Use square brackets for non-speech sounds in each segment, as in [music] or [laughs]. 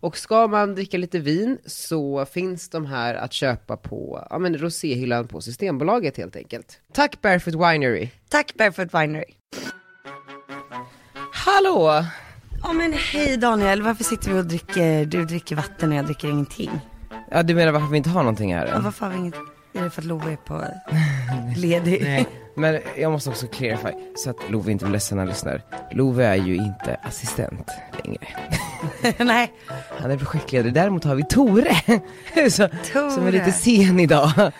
Och ska man dricka lite vin så finns de här att köpa på ja, men roséhyllan på Systembolaget helt enkelt. Tack Barefoot Winery! Tack Barefoot Winery. Hallå! Ja men hej Daniel, varför sitter vi och dricker, du dricker vatten och jag dricker ingenting? Ja du menar varför vi inte har någonting här Ja, än? varför har vi inget, är det för att Love är på [laughs] ledig? Men jag måste också clarify, så att Love inte blir ledsen när han lyssnar. Love är ju inte assistent längre. [laughs] Nej. Han är projektledare, däremot har vi Tore! [laughs] så, Som är Tore. lite sen idag. [laughs]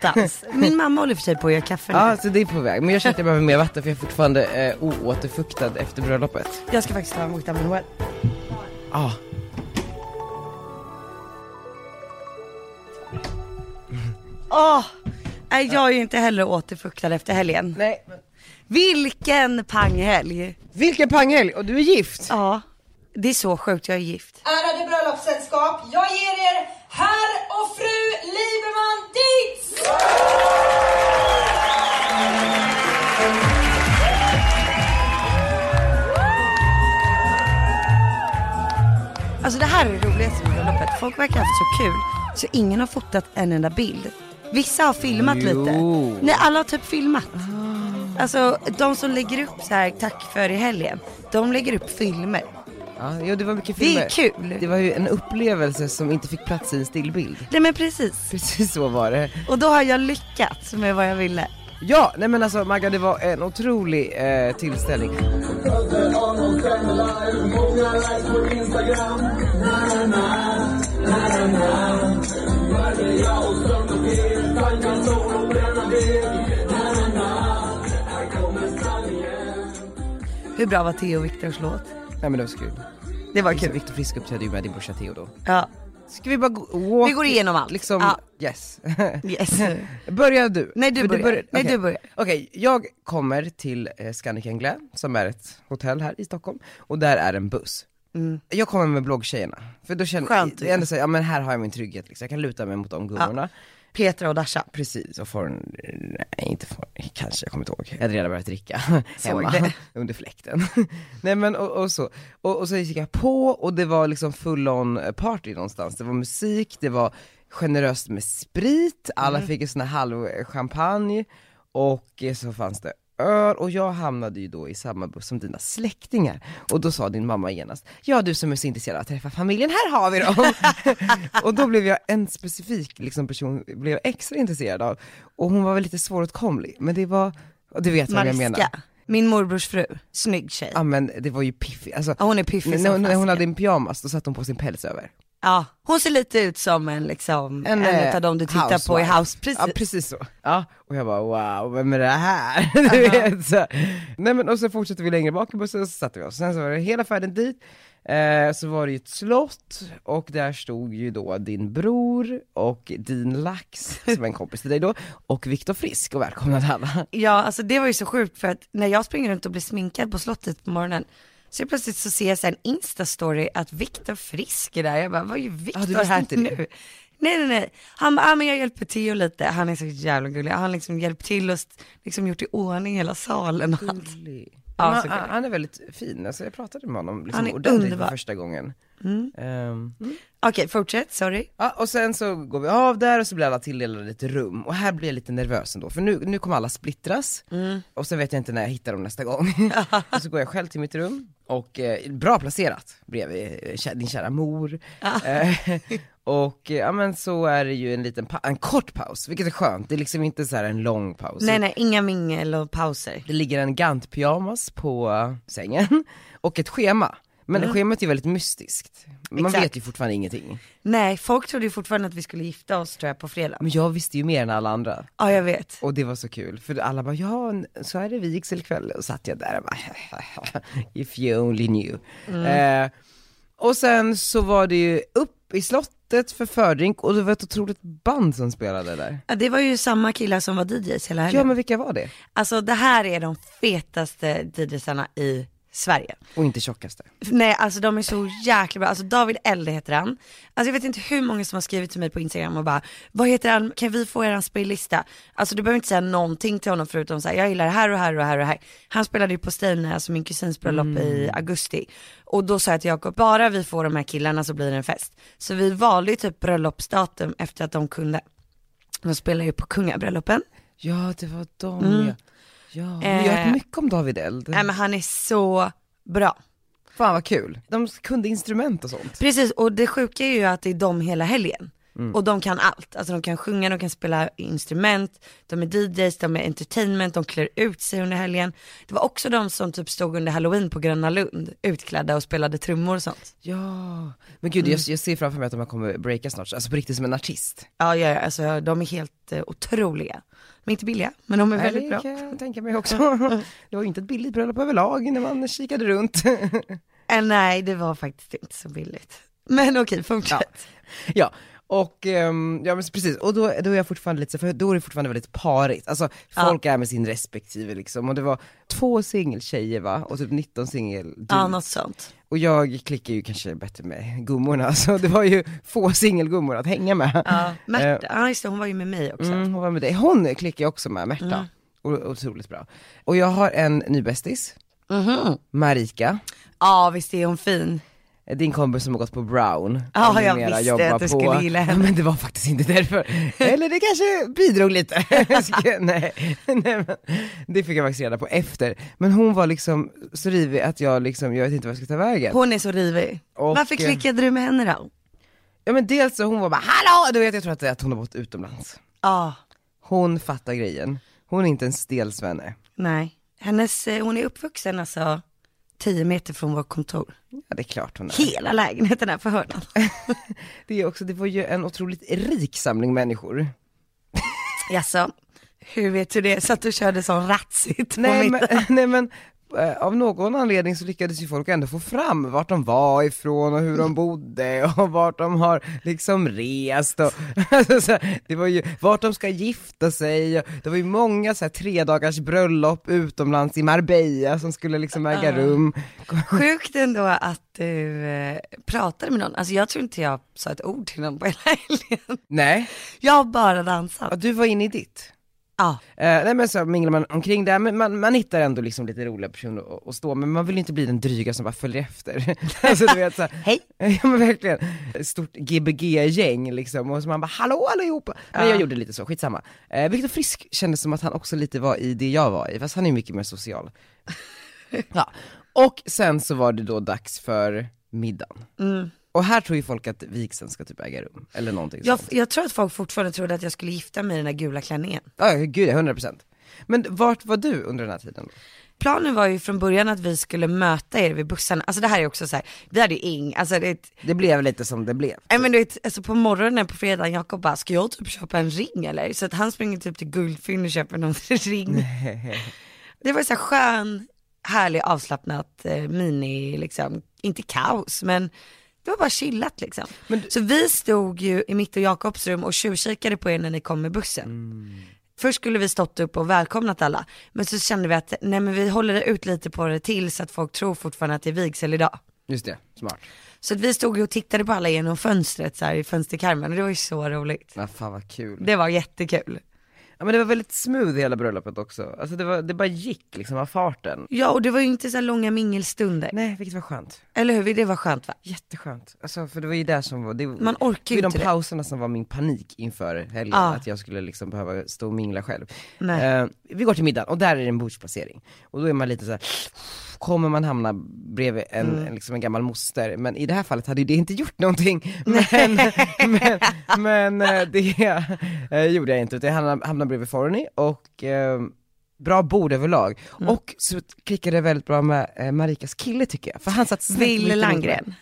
Dans. Min mamma håller för sig på att göra kaffe nu. Ja, så det är på väg. Men jag känner att jag behöver mer vatten för jag är fortfarande eh, oåterfuktad efter bröllopet. Jag ska faktiskt ta en vitamin Well. Ja. Åh! nej, jag är ju inte heller återfuktad efter helgen. Nej. Vilken panghelg! Vilken panghelg! Och du är gift! Ja, det är så sjukt, jag är gift. Ärade bröllopssällskap, jag ger er herr och fru Liberman Dietz! Alltså det här är det roligaste med bröllopet. Folk verkar ha haft så kul så ingen har fotat en enda bild. Vissa har filmat lite. Nej, alla har typ filmat. Alltså de som lägger upp så här tack för i helgen, de lägger upp filmer. Ja, jo, det var mycket Det är filmer. kul. Det var ju en upplevelse som inte fick plats i en stillbild. [laughs] Nej men precis. Precis så var det. Och då har jag lyckats med vad jag ville. Ja, nej men alltså Magda det var en otrolig eh, tillställning. Hur bra var Theo och Viktors låt? Nej men det var så kul. Det var Kul. kul. Viktor Frisk uppträdde ju med din brorsa Theo då. Ja. Ska vi bara gå... walk- Vi går igenom allt. Liksom, Ja. yes. [laughs] Yes. [laughs] Börjar du? Nej, du För börjar. Nej, okej. du börjar. Okej, jag kommer till eh, Scandic Englä, som är ett hotell här i Stockholm, och där är en buss. Jag kommer med bloggtjejerna, för då känner Mm. Skönt jag, ju. jag ändå säger, ja men här har jag min trygghet liksom. jag kan luta mig mot de gummorna. Petra och Dasha. Precis, och får en, nej inte får, kanske, jag kommer inte ihåg. Jag hade redan börjat dricka Såg hemma, det. under fläkten. [laughs] nej men och, och så, och, och så gick jag på och det var liksom full on party någonstans. Det var musik, det var generöst med sprit, alla fick en sån här halv champagne och eh, så fanns det öl och jag hamnade ju då i samma buss som dina släktingar och då sa din mamma genast, ja du som är så intresserad av att träffa familjen, här har vi dem! [laughs] och då blev jag en specifik liksom, person, blev jag extra intresserad av och hon var väl lite svåråtkomlig, men det var, och du vet vad jag menar. Mariska, min morbrors fru. Snygg tjej. Ja men det var ju piffigt, alltså, Ja, hon är piffig när, som hon, när hon fasken. hade en pyjamas då satte hon på sin päls över. Ja, hon ser lite ut som en liksom, en, eh, av de du tittar på i housewife. House, precis. Ja precis så. Ja, och jag bara wow, vem är det här? [laughs] du Uh-huh. vet så. Nej men och så fortsatte vi längre bak i bussen och så satte vi oss. Sen så var det hela färden dit, eh, så var det ju ett slott och där stod ju då din bror och din lax, som är en kompis till dig då, och Viktor Frisk och välkomnade alla. Ja, alltså det var ju så sjukt för att när jag springer runt och blir sminkad på slottet på morgonen, så plötsligt så ser jag så här en instastory att Viktor Frisk är där. Jag bara, vad är Ja, du Viktor visste här inte det. nu? Nej, nej, nej. Han bara, ah, men jag hjälper Theo lite. Han är så jävla gullig. Han har liksom hjälpt till och st- liksom gjort i ordning hela salen och Mm. allt. Ja, han, så han, gullig. han är väldigt fin, alltså jag pratade med honom liksom Han är ordentligt underbar. Mm. för första gången. Ehm, Okej, fortsätt, sorry. Ja, och sen så går vi av där och så blir alla tilldelade ett rum och här blir jag lite nervös ändå för nu, nu kommer alla splittras Mm. och sen vet jag inte när jag hittar dem nästa [laughs] gång. och så går jag själv till mitt Ah. rum och eh, [laughs] bra placerat bredvid eh, kä- din kära mor. Eh, Och eh, ja men så är det ju en liten, pa- en kort paus, vilket är skönt. Det är liksom inte så här en lång paus. Nej nej, inga mingel och pauser. Det ligger en Gant-pyjamas på sängen [laughs] och ett schema. Men schemat är väldigt mystiskt. Man Exakt. vet ju fortfarande ingenting. Nej, folk trodde ju fortfarande att vi skulle gifta oss tror jag på fredag. Men jag visste ju mer än alla andra. Ja jag vet. Och det var så kul, för alla bara ja, n- så är det vigselkväll. Och satt jag där och bara, [laughs] if you only knew. Eh, och sen så var det ju upp i slottet för fördrink och det var ett otroligt band som spelade där. Ja, det var ju samma killar som var DJs hela helgen. Ja men vilka var det? Alltså det här är de fetaste DJsarna i Sverige. Och inte tjockaste. Nej alltså de är så jäkla bra, alltså David Elde heter han. Alltså jag vet inte hur många som har skrivit till mig på Instagram och bara, vad heter han, kan vi få eran spellista? Alltså du behöver inte säga någonting till honom förutom så här, jag gillar det här och det här och det här och det här. Han spelade ju på Stina, alltså min kusins bröllop Mm. i augusti. Och då sa jag till Jakob, bara vi får de här killarna så blir det en fest. Så vi valde ju typ bröllopsdatum efter att de kunde. De spelar ju på kungabröllopen. Ja det var de ja. Ja, men jag Mm. har hört Eh. mycket om David Eld. Nej men han är så bra. Fan vad kul. De kunde instrument och sånt. Precis, och det sjuka är ju att det är de hela helgen. Och de kan allt, alltså de kan sjunga, de kan spela instrument, de är DJs, de är entertainment, de klär ut sig under helgen. Det var också de som typ stod under halloween på Gröna Lund, utklädda och spelade trummor och sånt. Ja, men gud jag, jag ser framför mig att de här kommer breaka snart, alltså på riktigt som en artist. Ja, ja, ja, alltså de är helt eh, otroliga. De är inte billiga, men de är väldigt bra. kan jag tänka mig [laughs] också. Det var ju inte ett billigt bröllop överlag när man kikade runt. [laughs] Eh, nej, det var faktiskt inte så billigt. Men okej, fortsätt. ja, och ehm, ja men precis, och då, då är jag fortfarande lite så- för då är det fortfarande väldigt parigt. Alltså folk är med sin respektive liksom, och det var två singeltjejer va, och typ 19 singel Ja, något sånt. Och jag klickar ju kanske bättre med gummorna, [laughs] så det var ju få singelgummor att hänga med. Ja. Eh, Märta, ja just det, hon var ju med mig också. Mm, hon var med dig. Hon klickar jag också med, Märta. Mm. O- Otroligt bra. Och jag har en ny bästis, Mm-hmm. Marika. Ja, visst är hon fin. Din kompis som har gått på Brown. Ja, och jag numera visste jobbar att du [laughs] skulle gilla henne. Men det var faktiskt inte [laughs] därför. Eller det kanske bidrog lite. [laughs] Ska- nej, [laughs] nej men, det fick jag faktiskt reda på efter. Men hon var liksom så rivig att jag liksom, jag vet inte vad jag ska ta vägen. Hon är så rivig. Och, Varför eh, klickade du med henne då? Ja men dels så hon var bara hallå, du vet jag tror att, det är att hon har bott utomlands. Ja, Hon fattar grejen. Hon är inte en stel svenne. nej. Hennes, eh, hon är uppvuxen alltså 10 meter från vårt kontor. Ja det är klart hon är. Hela lägenheten är på hörnan. Det, är också, det var ju en otroligt rik samling människor. Jaså, hur vet du det? Så att du körde sån ratsigt på Nej mitt... men, [laughs] nej, men eh, av någon anledning så lyckades ju folk ändå få fram vart de var ifrån och hur de bodde [laughs] och vart de har liksom rest och [laughs] alltså, så här, det var ju vart de ska gifta sig och det var ju många så här, tre dagars bröllop utomlands i Marbella som skulle liksom äga rum. Sjukt ändå att du eh, pratade med någon. Alltså jag tror inte jag sa ett ord till någon på hela helgen. Nej, Jag har bara dansat. ja, du var inne i ditt. Ja, Eh, nej men så minglar man omkring där, men man, man hittar ändå liksom lite roliga personer att- att stå med, men man vill ju inte bli den dryga som bara följer efter. [laughs] alltså du vet så här, Hej. [laughs] Ja men verkligen, Ett stort gbg-gäng liksom, och så man bara hallå allihopa! Men jag gjorde lite så, skitsamma. Eh, Viktor Frisk kändes som att han också lite var i det jag var i, fast han är ju mycket mer social. ja. Och sen så var det då dags för middagen. Och här tror ju folk att vigseln ska typ äga rum, eller någonting jag, sånt. jag tror att folk fortfarande trodde att jag skulle gifta mig i den där gula klänningen. Ja, gud 100%. Men vart var du under den här tiden? Då? Planen var ju från början att vi skulle möta er vid bussarna, alltså det här är också så här, vi hade ju ing, alltså det, Det blev lite som det blev. Nej men du vet, alltså på morgonen på fredagen, Jakob bara, ska jag typ köpa en ring eller? Så att han springer typ till Guldfynd och köper någon [laughs] ring. Det var så här skön, härlig, avslappnat eh, mini, liksom, inte kaos men det var bara chillat liksom. Så vi stod ju i mitt och Jakobs rum och tjuvkikade på er när ni kom med bussen. Först skulle vi stått upp och välkomnat alla, men så kände vi att nej men vi håller ut lite på det till så att folk tror fortfarande att det är vigsel idag. Just det, smart. Så att vi stod ju och tittade på alla genom fönstret så här, i fönsterkarmen och det var ju så roligt. Ja, fan vad kul. Det var jättekul. Ja, men det var väldigt smooth hela bröllopet också. Alltså det, var, det bara gick liksom av farten. Ja och det var ju inte så här långa mingelstunder. Nej, vilket var skönt. Eller hur? Det var skönt va? Jätteskönt. Alltså, för det var ju där som var, det, Man orkar ju det var de inte det. pauserna som var min panik inför helgen, Ja. att jag skulle liksom behöva stå och mingla själv. Nej. Eh, vi går till middagen och där är det en bordsplacering. Och då är man lite så här, kommer man hamna bredvid en, Mm. en, liksom en gammal moster. Men i det här fallet hade ju det inte gjort [laughs] någonting. Men, men, men eh, det eh, gjorde jag inte, utan jag hamnade, hamnade bredvid Forny och eh, bra bord överlag. Mm. Och så klickade det väldigt bra med eh, Marikas kille tycker jag, för han satt snett mitt Ville emot mig. Landgren.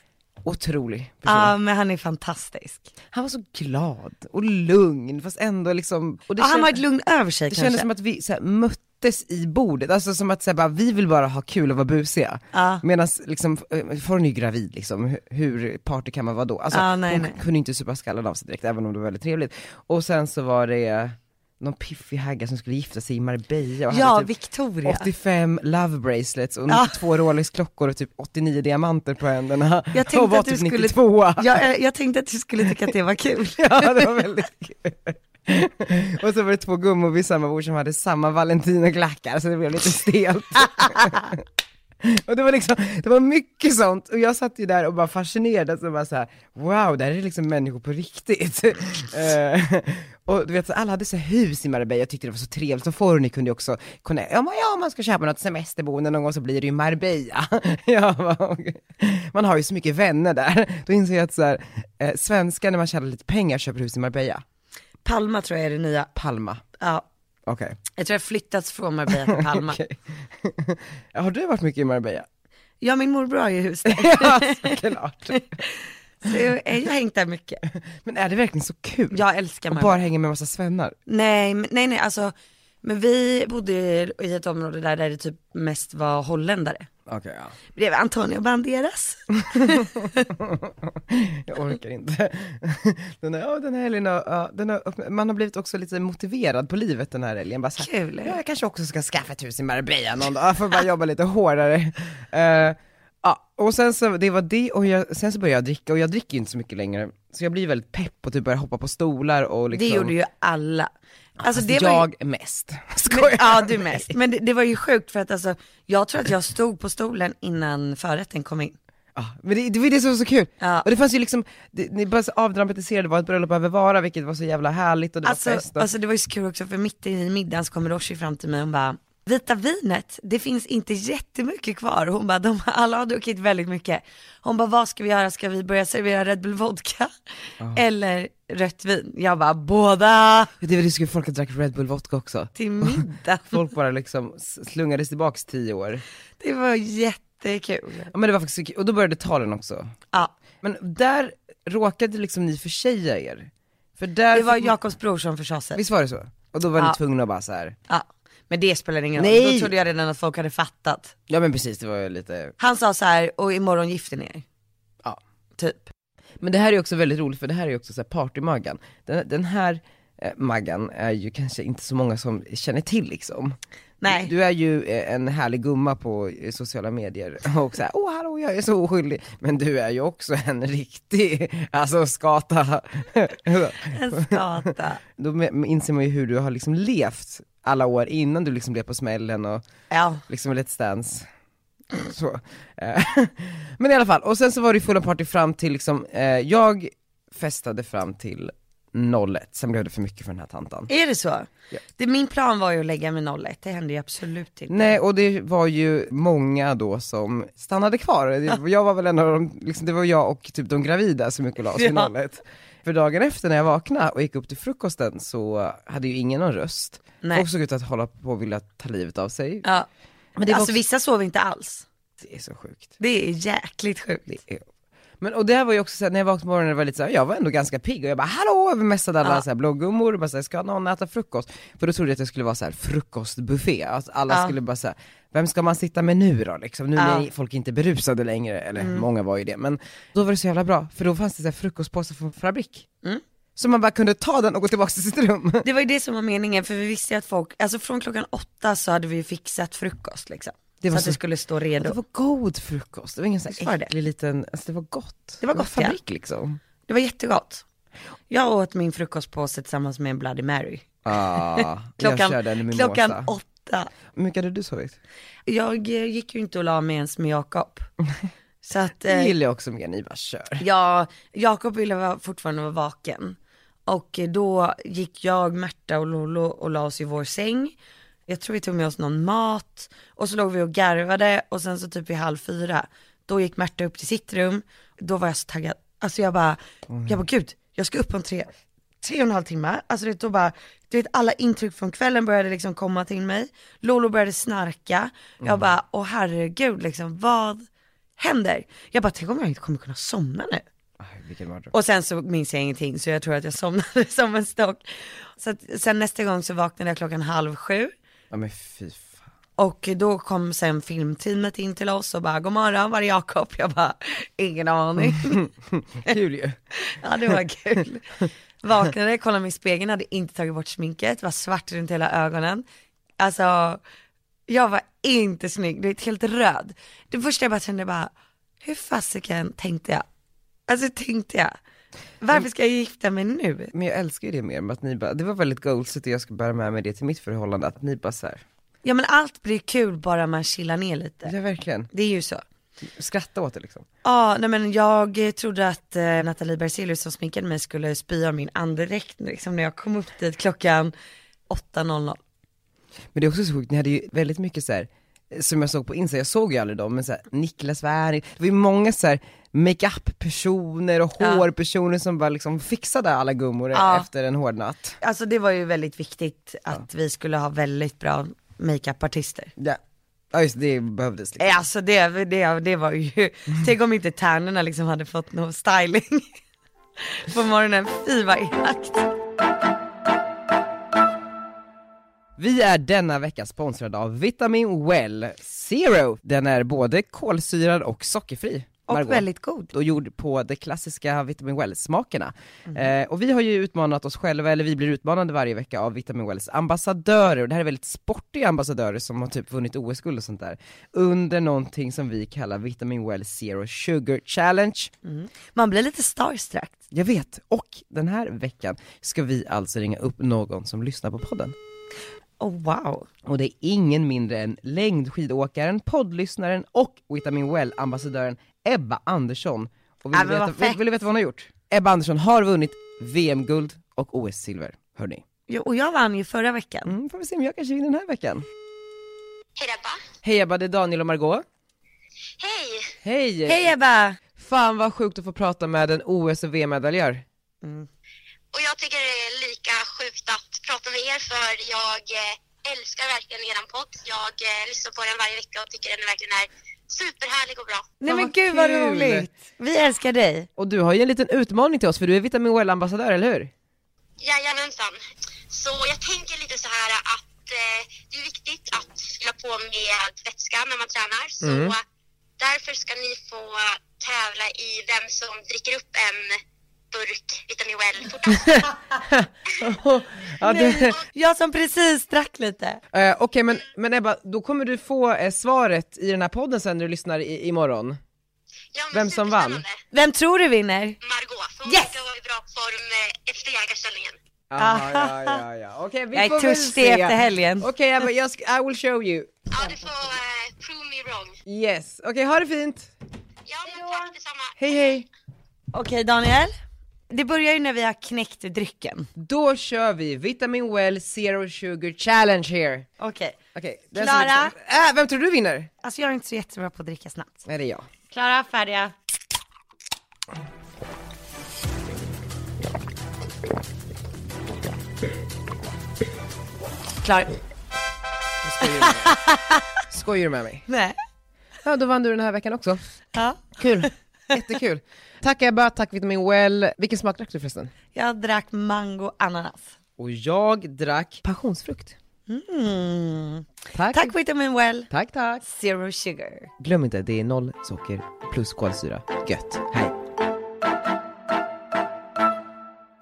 Otrolig person. Ja men han är fantastisk. Han var så glad och lugn fast ändå liksom, och det Ja, han kändes- har ett lugn över sig det kanske. kändes som att vi så här, möttes i bordet, alltså som att så här, bara, vi vill bara ha kul och vara busiga. Ja. Medan liksom, eh, Forn är ju gravid liksom, Hur- hur party kan man vara då? Alltså, Ja, nej, hon nej. kunde inte supa skallen av sig direkt även om det var väldigt trevligt. Och sen så var det någon piffig hagga som skulle gifta sig i Marbella och Ja, hade typ Victoria. 85 love bracelets och Ja. 92 Rolex-klockor och typ 89 diamanter på händerna Jag tänkte [laughs] och var att du typ skulle- 92 [laughs] Jag, eh, jag tänkte att du skulle tycka att det var kul. [laughs] Ja det var väldigt kul. Och så var det två gummor vid samma bord som hade samma valentinoklackar så det blev lite stelt. och det var liksom, det var mycket sånt och jag satt ju där och bara fascinerad och bara så här: wow det här är liksom människor på riktigt. Eh, och du vet så alla hade så här hus i Marbella, jag tyckte det var så trevligt och Forni kunde ju också kunna, ja men ja, om man ska köpa något semesterboende någon gång så blir det ju Marbella. [laughs] ja, bara, okej. man har ju så mycket vänner där. Då inser jag att så här, eh, svenskar när man tjänar lite pengar köper hus i Marbella. Palma tror jag är det nya. Palma. Ja, Okej. jag tror jag flyttats från Marbella [laughs] till Palma. Okej. har du varit mycket i Marbella? Ja, min morbror har ju hus där. [laughs] ja, såklart. Så jag jag har hängt där mycket. Men är det verkligen så kul? Jag älskar och Marbella. bara hänga med massa svennar? Nej, men- nej, nej, alltså. Men vi bodde i ett område där, där det typ mest var holländare. Okej, ja. Bredvid Antonio Banderas. Jag orkar inte. [laughs] Den här, ja, den här helgen har, ja, den har, öppnat- man har blivit också lite motiverad på livet den här helgen. Bara så här, Kul. Ja, jag kanske också ska skaffa ett hus i Marbella någon dag, jag får bara jobba lite hårdare. Eh, ja, och sen så, det var det, och jag, sen så började jag dricka, och jag dricker ju inte så mycket längre. Så jag blir väldigt pepp och typ börjar hoppa på stolar och liksom. Det gjorde ju alla. Alltså, Fast det var ju- jag [laughs] mest. Men, [laughs] ja du mest. Men det, det var ju sjukt för att alltså, jag tror att jag stod på stolen innan förrätten kom in. Ja, men det, det var ju det som var så kul. Ja. Och det fanns ju liksom, det, ni bara så avdramatiserade vad ett bröllop behöver vara, vilket var så jävla härligt och det var Alltså, fest och... alltså det var ju så kul också för mitt i middagen så kommer Roshi fram till mig och hon bara, vita vinet, det finns inte jättemycket kvar. Hon bara, de, alla har druckit väldigt mycket. Hon bara, vad ska vi göra? Ska vi börja servera Red Bull Vodka? Ah. Eller rött vin? Jag bara, båda Det var det skulle folk drack Red Bull vodka också. till middag. [laughs] Folk bara liksom s- slungades tillbaks tio år. Det var jättekul. Ja men det var faktiskt så kul, och då började talen också. Ja, Men där råkade liksom ni förtjäja er. För där, det var fick- Jakobs bror som försade sig. visst var det så? Och då var Ja. ni tvungna att bara så här. Ja, men det spelar ingen roll. Nej. Då trodde jag redan att folk hade fattat. ja men precis det var ju lite Han sa så här, och imorgon gifter ni er. Ja. Typ. Men det här är också väldigt roligt för det här är ju också så här partymaggan. Den, den här eh, Maggan är ju kanske inte så många som känner till liksom. Nej. Du, du är ju eh, en härlig gumma på eh, sociala medier [laughs] och såhär, åh hallå jag är så oskyldig. Men du är ju också en riktig, [laughs] alltså skata. [laughs] En skata. Då me- inser man ju hur du har liksom levt alla år innan du liksom blev på smällen och Ja. liksom Let's Dance. Så. Eh, [laughs] Men i alla fall, och sen så var det ju fulla party fram till liksom, eh, jag festade fram till 01, sen blev det för mycket för den här tantan. Är det så? Det, min plan var ju att lägga mig 01, det hände ju absolut inte. Nej, och det var ju många då som stannade kvar. Det- [laughs] Jag var väl en av de, liksom, det var jag och typ de gravida som gick och la oss vid Ja. 01. För dagen efter när jag vaknade och gick upp till frukosten så hade ju ingen någon röst. Nej. Folk såg ut att hålla på och vilja ta livet av sig. Ja. Men det var alltså också- vissa sov inte alls. Det är så sjukt. Det är jäkligt sjukt. Det är- Men och det här var ju också såhär, när jag vaknade på morgonen, det var lite såhär, jag var ändå ganska pigg och jag bara hallå, vi messade alla Ja. så såhär bloggummor och bara såhär, ska någon äta frukost? För då trodde jag att det skulle vara såhär frukostbuffé, att alla Ja. skulle bara såhär, vem ska man sitta med nu då liksom? Nu när Ja. Mm. folk inte är berusade längre, eller många var ju det, men då var det så jävla bra, för då fanns det såhär frukostpåsar från Fabrik. Mm. Så man bara kunde ta den och gå tillbaka till sitt rum. Det var ju det som var meningen, för vi visste ju att folk, alltså från klockan åtta så hade vi ju fixat frukost liksom. Det var så att det så- skulle stå Det redo. var god frukost, det var ingen Visst sån var här det? äcklig liten, alltså det var gott. Det var gott, ja. Fabrik liksom. Det var jättegott. Jag åt min frukostpåse tillsammans med en Bloody Mary. Ah, jag körde en [laughs] Klockan, mimosa. klockan åtta. Hur mycket hade du sovit? Jag eh, gick ju inte och la mig ens med [laughs] Jakob. Så att, Det eh, gillar jag också mer, ni bara kör. jag, Jakob ville vara, fortfarande vara vaken. Och eh, då gick jag, Märta och Lolo och la oss i vår säng. jag tror vi tog med oss någon mat och så låg vi och garvade och sen så typ vid halv fyra, då gick Märta upp till sitt rum, då var jag så taggad, alltså jag bara, jag bara gud, jag ska upp om tre, tre och en halv timme, alltså det, då bara, du vet alla intryck från kvällen började liksom komma till mig, Lolo började snarka, jag bara, åh herregud liksom, vad händer? Jag bara, tänk om jag inte kommer kunna somna nu. Aj, vilken mardröm. Och sen så minns jag ingenting så jag tror att jag somnade [laughs] som en stock. Så att, sen nästa gång så vaknade jag klockan halv sju Ja men fy fan. och då kom sen filmteamet in till oss och bara god morgon var är Jakob? Jag bara [laughs] ingen aning. Kul ju. [laughs] ja det var kul. Vaknade, kollade mig i spegeln, hade inte tagit bort sminket, var svart runt hela ögonen. Alltså jag var inte snygg, du vet helt röd. Det första jag bara kände bara, hur fasiken tänkte jag? Alltså hur tänkte jag? Varför ska jag gifta mig nu? Men jag älskar ju det mer med att ni bara, det var väldigt goalsigt och jag ska bära med mig det till mitt förhållande, att ni bara såhär, Ja men allt blir kul bara man chillar ner lite. ja verkligen, Det är ju så. skratta åt det liksom. Ja, nej men jag eh, trodde att eh, Nathalie Berzelius som sminkade mig skulle spy av min andedräkt liksom när jag kom upp dit klockan 8.00. Men det är också så sjukt, ni hade ju väldigt mycket så här som jag såg på Insta, jag såg ju aldrig dem, men så här, Niklas Wärn, det var ju många så här makeup-personer och Ja. hårpersoner som bara liksom fixade alla gummor Ja. efter en hård natt. Alltså det var ju väldigt viktigt att vi skulle ha väldigt bra makeupartister. Ja, ja just det, det behövdes liksom. Eh, Alltså det, det, det var ju, [laughs] tänk om inte tärnorna liksom hade fått någon styling [laughs] på morgonen. Fy vad elakt. Vi är denna vecka sponsrade av Vitamin Well Zero. Den är både kolsyrad och sockerfri. Och Margot. väldigt god. och gjord på de klassiska Vitamin Well-smakerna. Mhm. Eh, och vi har ju utmanat oss själva, eller vi blir utmanade varje vecka av Vitamin Wells ambassadörer, och det här är väldigt sportiga ambassadörer som har typ vunnit OS-guld och sånt där, under någonting som vi kallar Vitamin Well Zero Sugar Challenge. Man blir lite starstruck. Jag vet, och den här veckan ska vi alltså ringa upp någon som lyssnar på podden. Oh wow. Och det är ingen mindre än längdskidåkaren, poddlyssnaren och Vitamin Well-ambassadören Ebba Andersson. Och vill, Ja, du men vad veta, vill, fett. vill du veta vad hon har gjort? Ebba Andersson har vunnit VM-guld och OS-silver, hörni. Jo, och jag vann ju förra veckan. Mm, får vi se om jag kanske vinner den här veckan. Hej Ebba. Hej Ebba, det är Daniel och Margot. Hej! Hej! Hej Ebba! Fan vad sjukt att få prata med en OS och VM-medaljör. Och jag tycker det är lika sjukt att prata med er för jag eh, älskar verkligen eran podd. Jag eh, lyssnar på den varje vecka och tycker den verkligen är superhärlig och bra. Nej men vad gud vad kul. roligt! Vi älskar dig! Och du har ju en liten utmaning till oss för du är Vitamin Well-ambassadör, eller hur? Jajamensan. Så jag tänker lite så här att eh, det är viktigt att fylla på med vätska när man tränar. Så Mm. därför ska ni få tävla i vem som dricker upp en burk Vitamin Well [laughs] fortast. Ja, det- Jag som precis drack lite. [laughs] Eh, Okej, men, men Ebba, då kommer du få eh, svaret i den här podden sen när du lyssnar i, imorgon. Ja, men Vem som vann? superspännande. Vem tror du vinner? Margot, för hon Yes! verkar vara i bra form eh, efter jägarställningen. Ja, ja, ja, ja. Okej, vi Ah. Jag är får väl törstig se. efter helgen. Okej, Ebba, jag ska, I will show you. Ja, du får eh, prove me wrong. Yes. Okej, ha det fint. Ja, men tack detsamma. Hej, hej. Okej Daniel, det börjar ju när vi har knäckt drycken. Då kör vi Vitamin Well Zero Sugar Challenge here. Okej, Okej, okay, Klara? Äh, vem tror du vinner? alltså jag är inte så jättebra på att dricka snabbt. Nej, det är jag. Klara, färdiga. Klar. Skojar du med mig? Nej. Ja, då vann du den här veckan också. Ja. Kul. Jättekul. Tack Ebba, tack Vitamin Well. Vilken smak drack du förresten? Jag drack mango ananas. Och jag drack passionsfrukt. Mm. Tack. Tack vitamin well, Tack, tack. zero sugar. Glöm inte, det är noll socker plus kolsyra. Gött. Hej.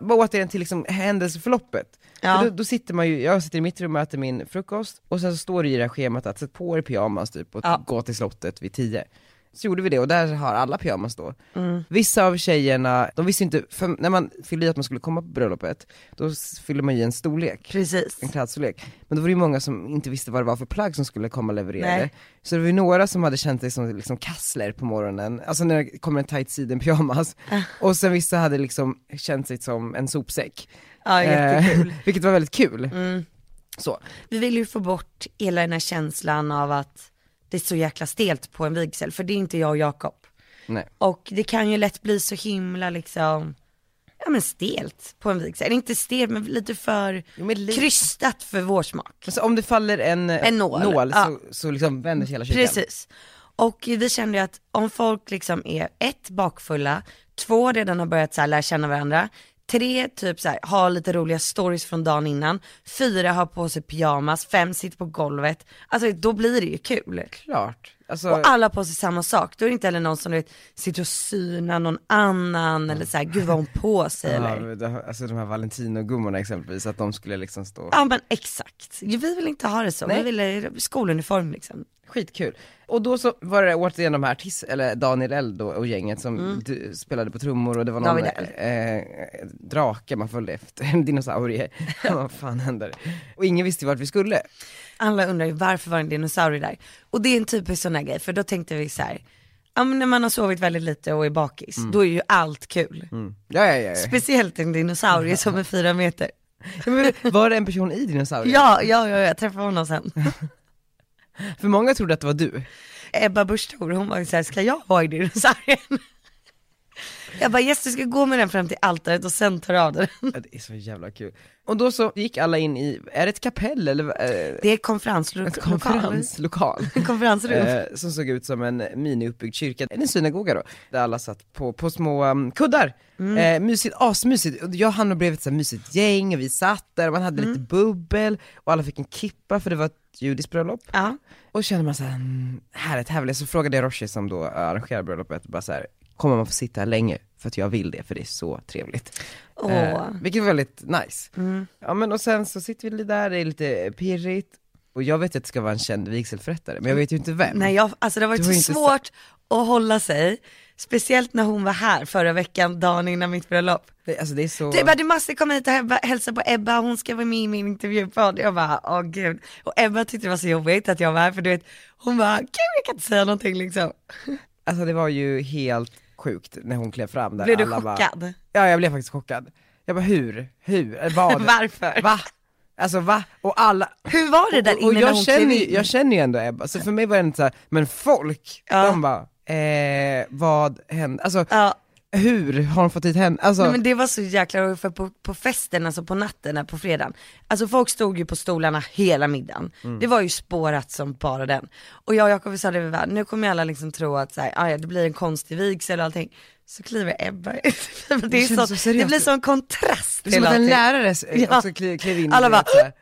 Bara återigen till liksom händelseförloppet. Ja. För Då, då sitter man ju, jag sitter i mitt rum och äter min frukost, och sen så står det ju i det här schemat att sätt på er pyjamas typ och Ja. gå till slottet vid tio. Så gjorde vi det och där har alla pyjamas då. Mm. Vissa av tjejerna, de visste ju inte, för när man fyllde i att man skulle komma på bröllopet, då s- fyllde man i en storlek Precis. en klädstorlek. Men då var det ju många som inte visste vad det var för plagg som skulle komma levererade. Nej. Så det var ju några som hade känt sig som liksom kassler på morgonen, alltså när det kommer en tight sidenpyjamas. Ah. Och sen vissa hade liksom känt sig som en sopsäck. Ja, jättekul. [laughs] Mm. Eh, vilket var väldigt kul. Så. Vi vill ju få bort hela den här känslan av att det är så jäkla stelt på en vigsel, för det är inte jag och Jakob. Nej. Och det kan ju lätt bli så himla liksom, ja men stelt på en vigsel. Eller Inte stelt men lite för Jo, men lite. krystat för vår smak. Alltså om det faller en, eh, En nål, ja. så, så liksom vänder sig hela kyrkan. Precis. Och vi kände ju att om folk liksom är ett, bakfulla, två, redan har börjat så här lära känna varandra, tre, typ så här, har lite roliga stories från dagen innan, fyra, har på sig pyjamas, fem, sitter på golvet. Alltså då blir det ju kul. Klart. Alltså, Och alla har på sig samma sak, då är det inte heller någon som du vet, sitter och synar någon annan eller så här, gud vad hon på sig ja, eller. men det har- alltså de här Valentino-gummorna exempelvis, att de skulle liksom stå... Ja men exakt, vi vill inte ha det så, vi Nej. ville skoluniform liksom. Skitkul. Och då så var det återigen de här artist, eller Daniel L då och gänget som du, spelade på trummor och det var någon Mm. David L. eh, drake man följde efter, en [laughs] dinosaurie. Vad fan händer? Och ingen visste vart vi skulle. Alla undrar ju varför var en dinosaurie där? Och det är en typisk sån här grej, för då tänkte vi så här, ja men när man har sovit väldigt lite och är bakis, då är ju allt kul. Ja, ja, ja. ja. Speciellt en dinosaurie som är fyra meter. Ja, men Var det en person i dinosaurien? Ja, ja, ja, jag träffade honom sen. För många trodde att det var du. Ebba Busch Thor, hon var ju såhär, ska jag vara i dinosaurien? [laughs] Jag bara yes du ska gå med den fram till altaret och sen tar du av den. Ja, det är så jävla kul. Och då så gick alla in i, är det ett kapell eller? Eh, Det är ett konferensrum. ett [laughs] konferenslokal. [laughs] lokal. Konferensrum. Eh, som såg ut som en miniuppbyggd kyrka, en synagoga då, där alla satt på, på små um, kuddar. Mm. Eh, mysigt, asmysigt. Och jag och Hanna blev ett så här mysigt gäng och vi satt där och man Mm. hade lite bubbel och alla fick en kippa för det var ett judiskt bröllop. Ja. Och kände man såhär, mm, härligt, härligt. Så frågade jag Roshi som då arrangerar bröllopet, bara så här, kommer man få sitta här länge? För att jag vill det, för det är så trevligt. Eh, Åh. Mm. vilket var väldigt nice. Ja men och sen så sitter vi där, det är lite pirrigt. Och jag vet att det ska vara en känd vigselförrättare, Mm. men jag vet ju inte vem. Nej jag, alltså det har varit Du har så ju inte svårt att hålla sig. Speciellt när hon var här förra veckan, dagen innan mitt bröllop. Det, alltså det är så... Du bara, du måste komma hit och hebba- hälsa på Ebba, hon ska vara med i min intervjupodd. Jag bara, åh gud. Och Ebba tyckte det var så jobbigt att jag var här, för du vet, hon bara, gud jag kan inte säga någonting liksom. Alltså det var ju helt sjukt när hon klev fram där. Blev du Alla bara- chockad? Ja jag blev faktiskt chockad. Jag bara hur? Hur? Eh, Vad? [laughs] Varför? Va? Alltså va? Och alla... Hur var det där Och, och inne när jag, hon klev känner ju, in? jag känner ju ändå Ebba, så för mig var det inte såhär, men folk, Ja. de bara, eh, vad hände? Alltså Ja. hur har de fått hit henne? Alltså, Nej, men det var så jäkla roligt för på, på festen, alltså på natten, här på fredagen, alltså folk stod ju på stolarna hela middagen. Mm. Det var ju spårat som bara den. Och jag och Jakob sa det, vi bara, nu kommer ju alla liksom tro att så här, "Ah, ja, det blir en konstig vigsel och allting. Så kliver Ebba ut. [laughs] det, är känns så, så seriöst. det blir sån kontrast det är som att en allting. lärare s- Ja. också klev, klev in Alla och bara, så här,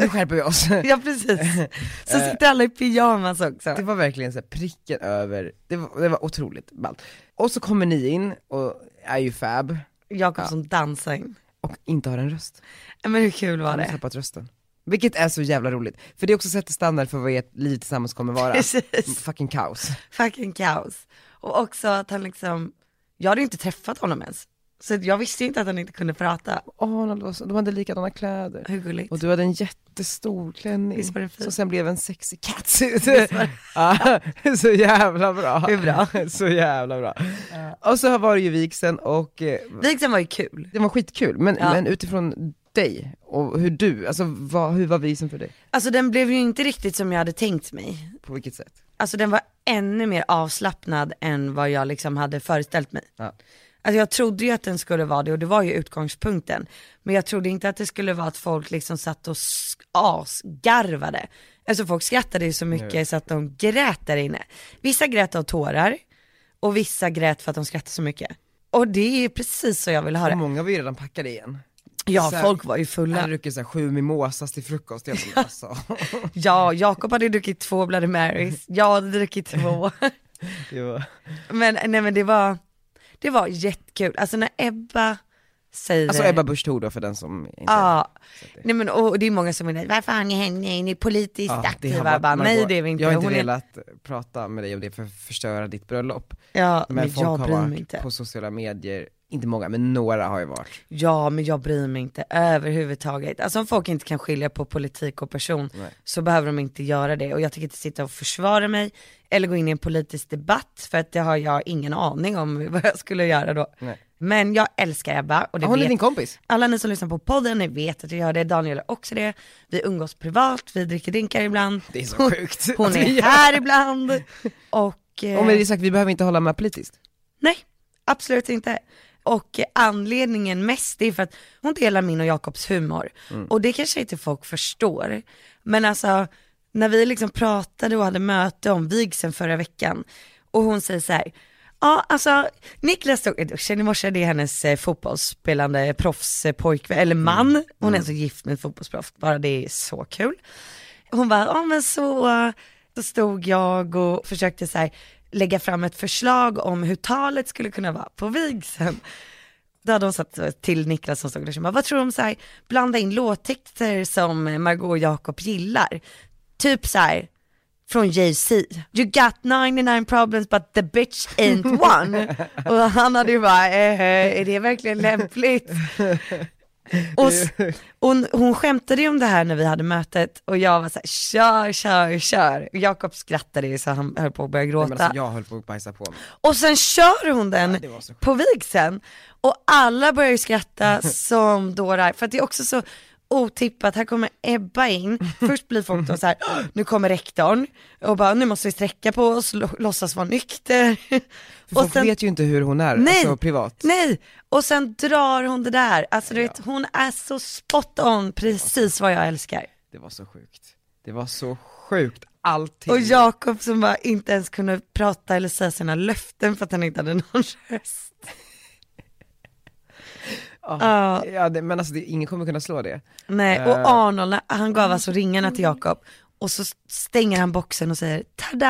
nu skärper vi [laughs] oss. [laughs] Ja precis. Så sitter alla i pyjamas också. Eh. Det var verkligen så här pricken över, det var, det var otroligt ballt. Och så kommer ni in och är ju fab Jakob som dansar in. och inte har en röst. Ja, Men hur kul var Han har det? tappat rösten. Vilket är så jävla roligt, för det också sätter standard för vad ert liv tillsammans kommer vara. [laughs] Precis. Fucking kaos. fucking kaos. Och också att han liksom, jag hade ju inte träffat honom ens. Så att jag visste ju inte att han inte kunde prata. Arnold var så, de hade likadana kläder. Hur gulligt. Och du hade en jättestor klänning Visst var det fint? som sen blev en sexy catsuit. [laughs] Ja, [laughs] så jävla bra. Hur bra? [laughs] Så jävla bra. Och så var det ju vigseln och eh, Vigseln liksom var ju kul. det var skitkul, men, Ja. men utifrån dig och hur du, alltså vad, hur var vigseln för dig? Alltså den blev ju inte riktigt som jag hade tänkt mig. På vilket sätt? Alltså den var ännu mer avslappnad än vad jag liksom hade föreställt mig. Ja. Alltså jag trodde ju att den skulle vara det och det var ju utgångspunkten. Men jag trodde inte att det skulle vara att folk liksom satt och sk- asgarvade. Alltså folk skrattade ju så mycket så att de grät där inne. Vissa grät av tårar och vissa grät för att de skrattade så mycket. Och det är precis så jag vill ha Och det. många var ju redan packade igen. Ja, Mm. så här- folk var ju Jag fulla. hade druckit såhär sju mimosas till frukost, jag bara, [laughs] alltså. Ja, Jakob hade druckit två Bloody Marys, jag hade [laughs] druckit två. Det var- Men nej men det var, det var jättekul. Alltså när Ebba säger Alltså Ebba Busch Thor då för den som inte Ja, nej men och det är många som menar, varför har ni henne, är ni politiskt Ja, det har aktiva? varit- Bara, Margot, nej det är vi inte. Jag har inte Hon är- velat prata med dig om det för att förstöra ditt bröllop. Ja, Men, men folk jag har bryr mig varit inte. på sociala medier, inte många men några har ju varit. Ja, men jag bryr mig inte överhuvudtaget. Alltså om folk inte kan skilja på politik och person så behöver de inte göra det. Och jag tänker inte sitta och försvara mig [laughs] eller gå in i en politisk debatt för att det har jag ingen aning om vad jag skulle göra då. Nej. Men jag älskar Ebba och det Hon är vet din kompis. alla ni som lyssnar på podden, ni vet att jag gör det, Daniel är också det. Vi umgås privat, vi dricker drinkar ibland. Det är så Hon- sjukt att Hon Alltså, vi är gör här ibland. Och, eh, Och med det sagt, vi behöver inte hålla med politiskt. nej, absolut inte. Och eh, anledningen mest är för att hon delar min och Jakobs humor. Och det kanske inte folk förstår. Men alltså, när vi liksom pratade och hade möte om vigseln förra veckan och hon säger så här, Ja, alltså Niklas stod i duschen i morse, det är hennes eh, fotbollsspelande proffspojkvän, eller man. Hon är alltså gift med ett fotbollsproffs, bara det är så kul. Hon bara, ja men så, eh, då stod jag och försökte så här, lägga fram ett förslag om hur talet skulle kunna vara på vigseln. Då hade hon sagt så till Niklas som stod där, så bara, vad tror du om så här, blanda in låttexter som Margot och Jakob gillar? Typ så här, från Jay-Z. You got 99 problems but the bitch ain't one. och han hade ju bara, eh, eh, är det verkligen lämpligt? och s- hon, hon skämtade ju om det här när vi hade mötet och jag var så här, kör, kör, kör. Och Jakob skrattade ju så han höll på att börja gråta. Men alltså, jag höll på att bajsa på mig. Och sen kör hon den det var så sjukt. på vigseln. Och alla börjar [laughs] ju skratta som dårar. För att det är också så otippat, här kommer Ebba in. Först blir folk då så här, "Åh, nu kommer rektorn. Och bara, nu måste vi sträcka på oss, lå- låtsas vara nykter. För folk vet ju inte hur hon är, Nej. alltså privat. Nej, och sen drar hon det där. Alltså du vet, hon är så spot on, precis vad jag älskar. Det var så sjukt. Det var så sjukt, Ah. allting. Och Jakob som bara inte ens kunde prata eller säga sina löften för att han inte hade någon [laughs] röst. Ja. Ja, det, men alltså det, ingen kommer kunna slå det. Nej, Eh. och Arnold, när- han gav alltså ringarna till Jakob och så stänger han boxen och säger tada,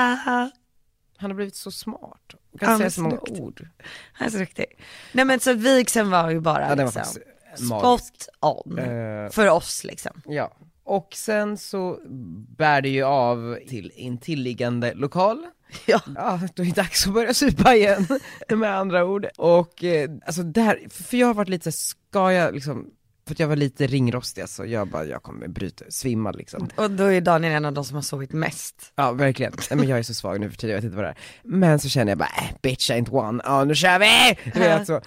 Han har blivit så smart och Ja, kan säga men så många snyggt. ord. han är så duktig. Nej men så vigseln var ju bara Ja, den var liksom, faktiskt eh, magisk. spot on Eh. för oss liksom. Ja. Och sen så bär det ju av till intilliggande lokal. [laughs] Ja. Ja, då är det dags att börja supa igen, [laughs] med andra ord. Och eh, alltså där, för jag har varit lite så här, ska jag liksom, för att jag var lite ringrostig alltså, jag bara, jag kommer bryta, svimma liksom. Och då är Daniel en av de som har sovit mest. Ja verkligen, Nej, men jag är så svag nu för tiden, jag vet inte vad det är. Men så känner jag bara, äh, bitch ain't one, ja nu kör vi! Du vet, så.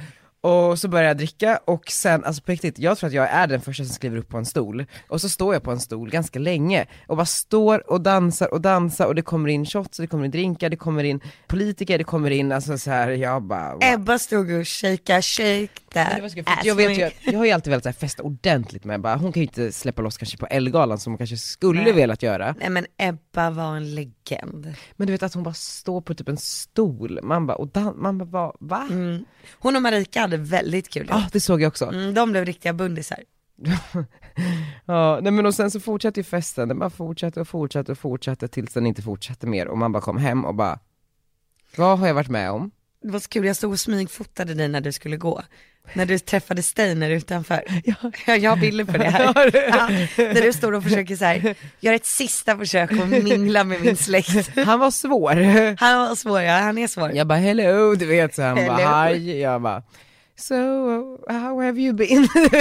Och så börjar jag dricka och sen, alltså på riktigt, jag tror att jag är den första som skriver upp på en stol. Och så står jag på en stol ganska länge och bara står och dansar och dansar och det kommer in shots, och det kommer in drinkar, det kommer in politiker, det kommer in alltså så här, jag bara wow. Ebba stod och shakea, shake Men that det var så kul, för ass jag, vet ju, wink. att- jag har ju alltid velat så här, festa ordentligt med bara, hon kan ju inte släppa loss kanske på Ellegalan som hon kanske skulle Nej. velat göra. Nej men Ebba var en legend. Men du vet att hon bara står på typ en stol, man bara, och dan- man bara, va? va? Mm. Hon och Marika hade väldigt kul. Ah, det såg jag också. Mm, de blev riktiga bundisar. [laughs] Ja, nej men och sen så fortsatte ju festen, den bara fortsatte och fortsatte och fortsatte tills den inte fortsatte mer och man bara kom hem och bara, vad har jag varit med [laughs] om? Det var så kul, jag stod och smygfotade dig när du skulle gå. När du träffade Steiner utanför. Ja. Jag [laughs] har bilder på det här. Ja, när du står och försöker så här, gör ett sista försök och mingla med min släkt. Han var svår. [laughs] Han var svår, ja, han är svår. Jag bara hello, du vet så han bara Hello. hi, jag bara So, how have you been? [laughs]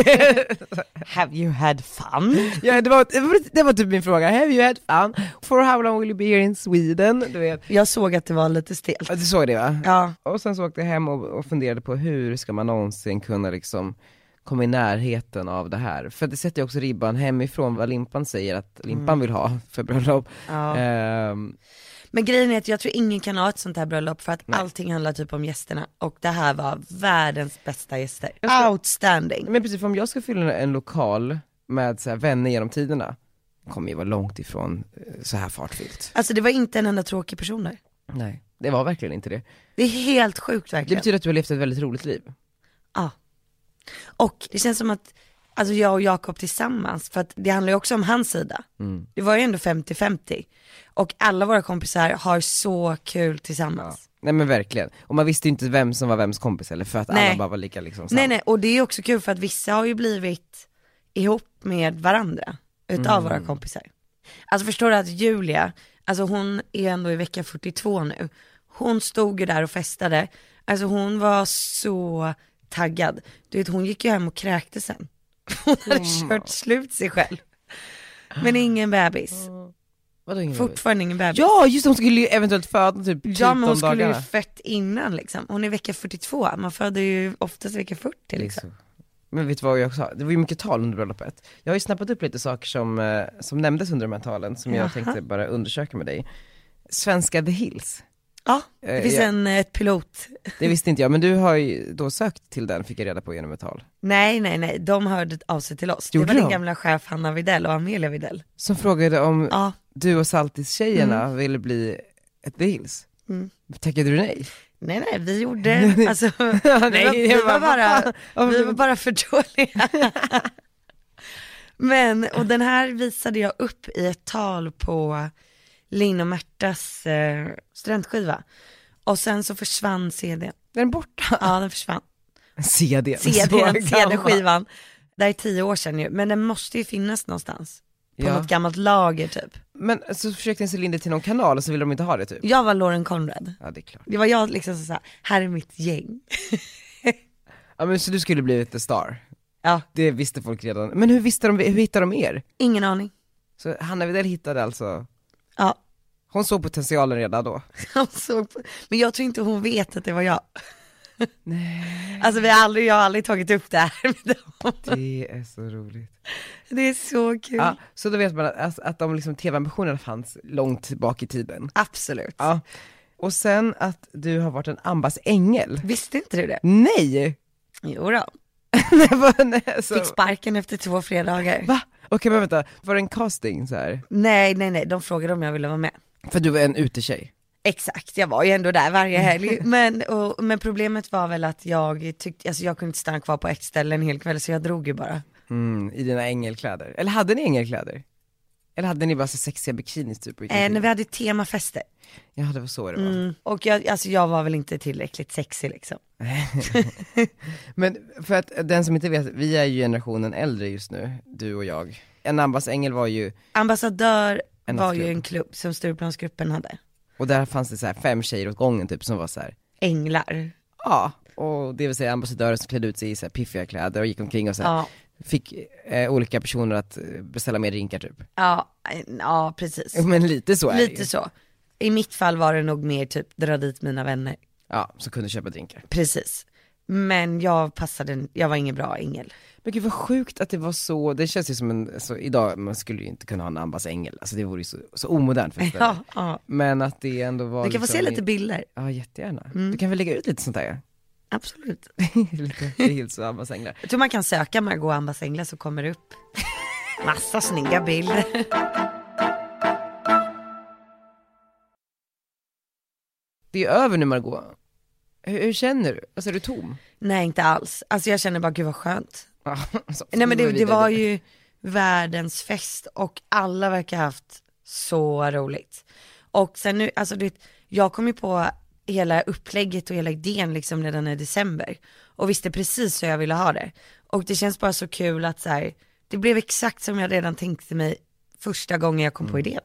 Have you had fun? ja, det, var, det var- det var typ min fråga, have you had fun? For how long will you be here in Sweden? Du vet. Jag såg att det var lite stelt. Ja, Du såg det va? Ja, Och sen så åkte jag hem och, och funderade på hur ska man någonsin kunna liksom komma i närheten av det här. För det sätter ju också ribban hemifrån vad Limpan säger att Limpan vill ha för bröllop. Mm. Ja. Ehm, men grejen är att jag tror ingen kan ha ett sånt här bröllop för att allting handlar typ om gästerna och det här var världens bästa gäster. ska- Outstanding. men precis, för om jag ska fylla en lokal med så här vänner genom tiderna, kommer ju vara långt ifrån eh, så här fartfyllt. Alltså det var inte en enda tråkig person där. Nej. Det var verkligen inte det. Det är helt sjukt Det verkligen. betyder att du har levt ett väldigt roligt liv. Ja. Och det känns som att, alltså jag och Jakob tillsammans, för att det handlar ju också om hans sida. Det var ju ändå 50-50. Och alla våra kompisar har så kul tillsammans. Nej men verkligen. Och man visste ju inte vem som var vems kompis eller för att Nej. alla bara var lika liksom nej samma. nej, och det är också kul för att vissa har ju blivit ihop med varandra Mm. utav våra kompisar. Alltså förstår du att Julia, alltså hon är ändå i vecka 42 nu. Hon stod ju där och festade, alltså hon var så taggad. Du vet hon gick ju hem och kräkte sen. [laughs] Hon hade kört slut sig själv. Men ingen bebis. Vadå ingen bebis? Fortfarande ingen bebis. Ja just det, hon skulle ju eventuellt föda typ 14 Ja men hon skulle ju dagarna. fött innan liksom. Hon är vecka 42, man föder ju oftast vecka 40 liksom. Men vet du vad jag också har? Det var ju mycket tal under bröllopet. Jag har ju snappat upp lite saker som, eh, som nämndes under de här talen som Jaha. jag tänkte bara undersöka med dig. Svenska The Hills, Ja, Eh, det finns ja. en eh, ett pilot. det visste inte jag men du har ju då sökt till den fick jag reda på genom ett tal. Nej nej nej, de hörde av sig till oss. Gjorde det de? var din gamla chef Hanna Videll och Amelia Videll. Som frågade om Ja, du och Saltis-tjejerna ville bli ett The Hills. Mm. Tackade du nej? nej [laughs] nej, vi gjorde, alltså, vi var, Nej, vi jag bara, var vad fan? bara, Varför- vi var bara för dåliga. [laughs] Men, och den här visade jag upp i ett tal på Linn och Märtas eh, studentskiva. Och sen så försvann CDn. Är den [laughs] borta? Ja, den försvann. [laughs] CD. [laughs] CDn, CD-skivan. Det här är tio år sedan ju, men den måste ju finnas någonstans. På Ja. något gammalt lager typ. Men så försökte Céline det till någon kanal och så ville de inte ha det typ. Jag var Lauren Conrad. Ja det är klart. Det var jag liksom som sa, här är mitt gäng. Ja men så du skulle blivit the star? Ja. Det visste folk redan. Men hur visste de, hur hittade de er? Ingen aning. Så Hanna Widell hittade alltså, Ja. [laughs] hon såg potentialen redan då. Han såg på, men jag tror inte hon vet att det var jag. Nej. Alltså vi har aldrig, jag har aldrig tagit upp det här [laughs] med dem. Det är så roligt. Det är så kul. Ja, så då vet man att, alltså, att de liksom, tv-ambitionerna fanns långt bak i tiden. Absolut. Ja. Och sen att du har varit en Ambas ängel. Visste inte du det? Nej! [laughs] Jo då. Nej, vad- nej, alltså. Fick sparken efter två fredagar. Va? Okej men vänta, var det en casting så här? Nej, nej, nej, de frågade om jag ville vara med. För du var en utetjej? Exakt, jag var ju ändå där varje Mm. [laughs] helg. Men, och, men problemet var väl att jag tyckte, alltså jag kunde inte stanna kvar på ett ställe en hel kväll så jag drog ju bara. Mm, I dina ängelkläder? Eller hade ni ängelkläder? Eller hade ni bara så sexiga bikinis typ? och gick Eh, omkring? när vi hade temafester. Ja det var så det var. Mm. Och jag, alltså jag var väl inte tillräckligt sexig liksom. Men för att den som inte vet, vi är ju generationen äldre just nu, du och jag. En Ambas ängel var ju, Ambassadör En var nattklubb. ju en klubb som Stureplansgruppen hade. och där fanns det så här fem tjejer åt gången typ som var så här. Änglar. ja, och det vill säga ambassadörer som klädde ut sig i så här piffiga kläder och gick omkring och så här, Ja, fick eh, olika personer att eh, beställa mer drinkar typ. [laughs] ja, eh, ja precis. Jo, Men lite Mm, så är det ju. Lite så. I mitt fall var det nog mer typ dra dit mina vänner. Ja, som kunde köpa drinkar. Precis. Men jag passade, jag var ingen bra ängel. Men gud vad sjukt att det var så, det känns ju som en, så idag, man skulle ju inte kunna ha en Ambas ängel, alltså det vore ju så, så omodernt för ett ställe. Ja, ja. Men att det ändå var liksom Du kan få se lite Mm. bilder. Ja jättegärna. Du kan väl lägga ut lite sånt där ja? Absolut. [laughs] lite Hills och Abbas änglar. Jag tror man kan söka Margot Ambas änglar så kommer det upp [laughs] massa snygga bilder. Det är över nu Margot. Hur, hur känner du? Alltså är du tom? Nej inte alls. Alltså jag känner bara gud vad skönt. Ja, alltså, Nej men det, vi det var vidare. ju världens fest och alla verkar ha haft så roligt. Och sen nu, alltså du vet, jag kom ju på hela upplägget och hela idén liksom redan i december. Och visste precis hur jag ville ha det. Och det känns bara så kul att så här, det blev exakt som jag redan tänkte mig första gången jag kom Mm. på idén.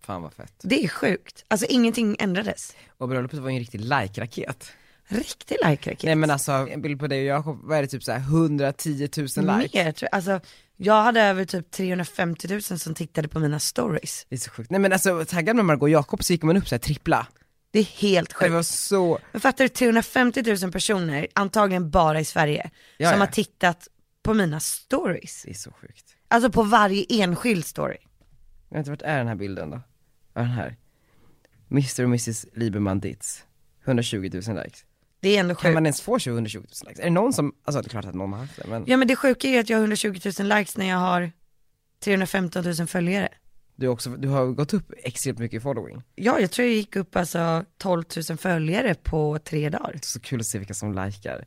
Fan vad fett. Det är sjukt. Alltså ingenting ändrades. Och bröllopet var ju en riktig like-raket. Riktig like-raket. Nej men alltså en bild på dig och Jakob, vad är det typ såhär 110 000 like? Mer, tror jag. alltså jag hade över typ 350 000 som tittade på mina stories. Det är så sjukt. Nej men alltså taggad med Margot och Jakob så gick man upp såhär trippla. Det är helt Det sjukt. var så, Men fattar du, 350 000 personer, antagligen bara i Sverige, Ja, som ja. har tittat på mina stories. det är så sjukt. Alltså på varje enskild story. Jag vet inte, vart är den här bilden då? Ja den här. Mr och Mrs Lieberman Ditz. 120 000 likes. Det är ändå Kan sjukt. man ens få 120 000 likes? Är det någon som, alltså det är klart att någon har haft det men Ja men det sjuka är ju att jag har 120 000 likes när jag har 315 000 följare. du, har också, du har gått upp extremt mycket i following. Ja, jag tror jag gick upp alltså 12 000 följare på tre dagar. Det är så kul att se vilka som likar.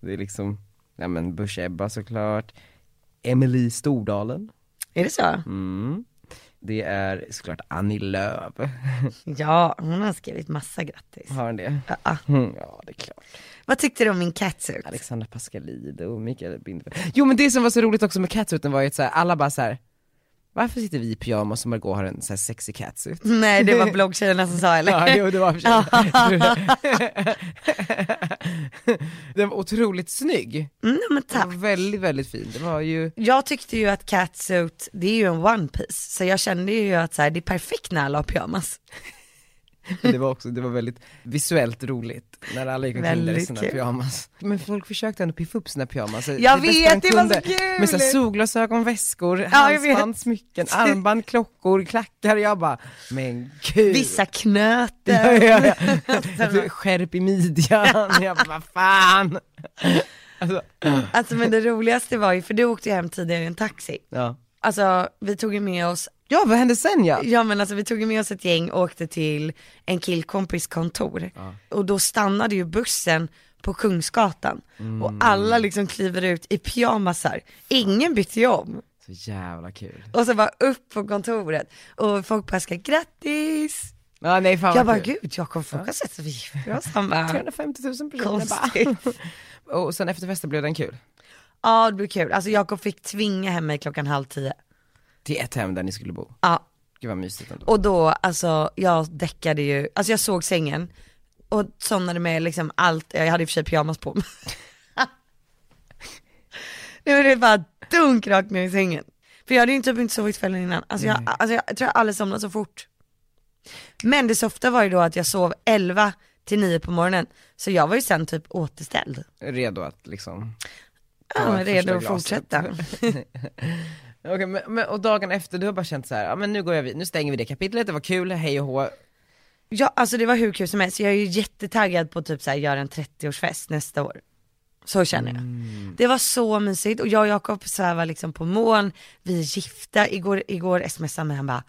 Det är liksom, ja men Bush Ebba såklart, Emily Stordalen, Är det så? mm. det är såklart Annie Lööf, [laughs] Ja, hon har skrivit massa grattis. har hon det? Ah, Mm, ja det är klart. Vad tyckte du om min catsuit? Alexandra Pascalide och Mikael Bindefeld. Jo men det som var så roligt också med catsuiten var ju att så här, alla bara så här. varför sitter vi i pyjamas och Margot har en så här sexy catsuit? Nej det var bloggtjejerna som sa eller? Ja, jo, det var för sig. [laughs] Den var otroligt snygg. Mm, men Den tack. var väldigt, väldigt fin. Det var ju, Jag tyckte ju att catsuit, det är ju en one piece. Så jag kände ju att så här, det är perfekt när alla har pyjamas. det var också, det var väldigt visuellt roligt när alla gick omkring där i Väldigt sina kul. pyjamas. Men folk försökte ändå piffa upp sina pyjamas. Jag bästa vet, de det var så kunde. Med så här kul! solglasögon, väskor, Ja, jag vet. halsband, [laughs] smycken, armband, klockor, klackar. Jag bara, men gud. Vissa knöten. [laughs] Ja, ja, ja. [laughs] Du, Skärp i midjan, jag bara, vad fan. Alltså, Alltså men det roligaste var ju, för du åkte ju hem tidigare i en taxi. ja. Alltså vi tog ju med oss, ja, vad hände sen ja? ja men alltså vi tog ju med oss ett gäng och åkte till en killkompis kontor. Och då stannade ju bussen på Kungsgatan. Och alla liksom kliver ut i pyjamasar. Ingen bytte ju om. Så jävla kul. Och så bara upp på kontoret. Och folk bara ska grattis. Ja, nej, fan vad Jag bara kul. gud, jag kommer folk har sett att vi [laughs] är bra samma. 350 000 personer bara. Konstigt. [laughs] Och sen efter festen blev den kul. [laughs] Ja det blir kul, alltså Jakob fick tvinga hem mig klockan halv tio. Till ett hem där ni skulle bo. Ja, Gud vad mysigt ändå. och då alltså jag däckade ju, alltså jag såg sängen och somnade med liksom allt, jag hade i och för sig pyjamas på mig. [laughs] Nej men det var bara dunk rakt ner i sängen. För jag hade ju typ inte sovit kvällen innan, alltså jag, alltså jag tror jag aldrig somnat så fort. Men det softa var ju då att jag sov 11 till 9 på morgonen, så jag var ju sen typ återställd. Redo att liksom... Ja, ta men ett redo att första glaset. fortsätta. Okej, men, men, och dagen efter, du har bara känt så här, ja men nu går jag vid, nu stänger vi det kapitlet, det var kul, hej och hå. Ja, alltså det var hur kul som helst. Jag är ju jättetaggad på typ så här, göra en 30-årsfest nästa år. Så känner jag. Mm. Det var så mysigt och jag och Jakob svävar liksom på moln, vi är gifta. Igår, igår smsade han mig, han bara,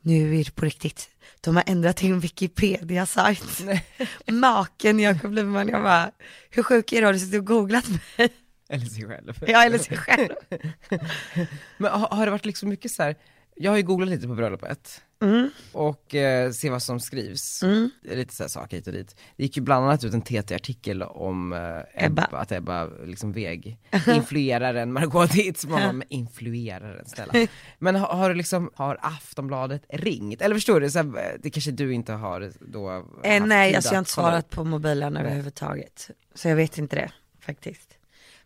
nu är det på riktigt. De har ändrat till en Wikipedia-sajt. [laughs] Maken Jakob Lyman, jag bara, hur sjuk är du? Har du suttit och googlat mig? [laughs] Eller sig själv. Jag eller [laughs] sig själv. Men har, har det varit liksom mycket så här, jag har ju googlat lite på bröllopet. Mm. Och eh, se vad som skrivs. Lite så här saker hit och dit. Det gick ju bland annat ut en TT-artikel om eh, Ebba, Ebba. att Ebba liksom [laughs] veg influeraren Margot Dietz. Man bara, men influeraren snälla. Men har, har du liksom, har Aftonbladet ringt? Eller förstår du, så här, eh, det kanske du inte har då? Eh, haft nej, tid alltså jag har att inte kolla svarat upp. på mobilen överhuvudtaget. Så jag vet inte det faktiskt.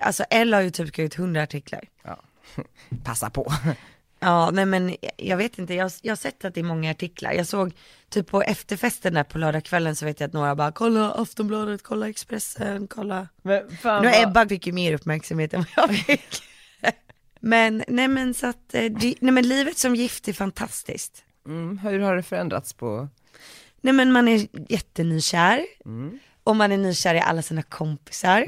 Alltså Elle har ju typ skrivit 100 artiklar. Ja. Passa [laughs] på. Ja, nej men jag vet inte, jag, jag har sett att det är många artiklar. Jag såg typ på efterfesten där på lördagskvällen så vet jag att några bara kolla Aftonbladet, kolla Expressen, kolla. Men fan Nu vad- Ebba fick ju mer uppmärksamhet än vad jag fick. [laughs] men nej men så att, eh, det, nej men livet som gift är fantastiskt. mm, hur har det förändrats på Nej men man är jättenykär. Och man är nykär i alla sina kompisar.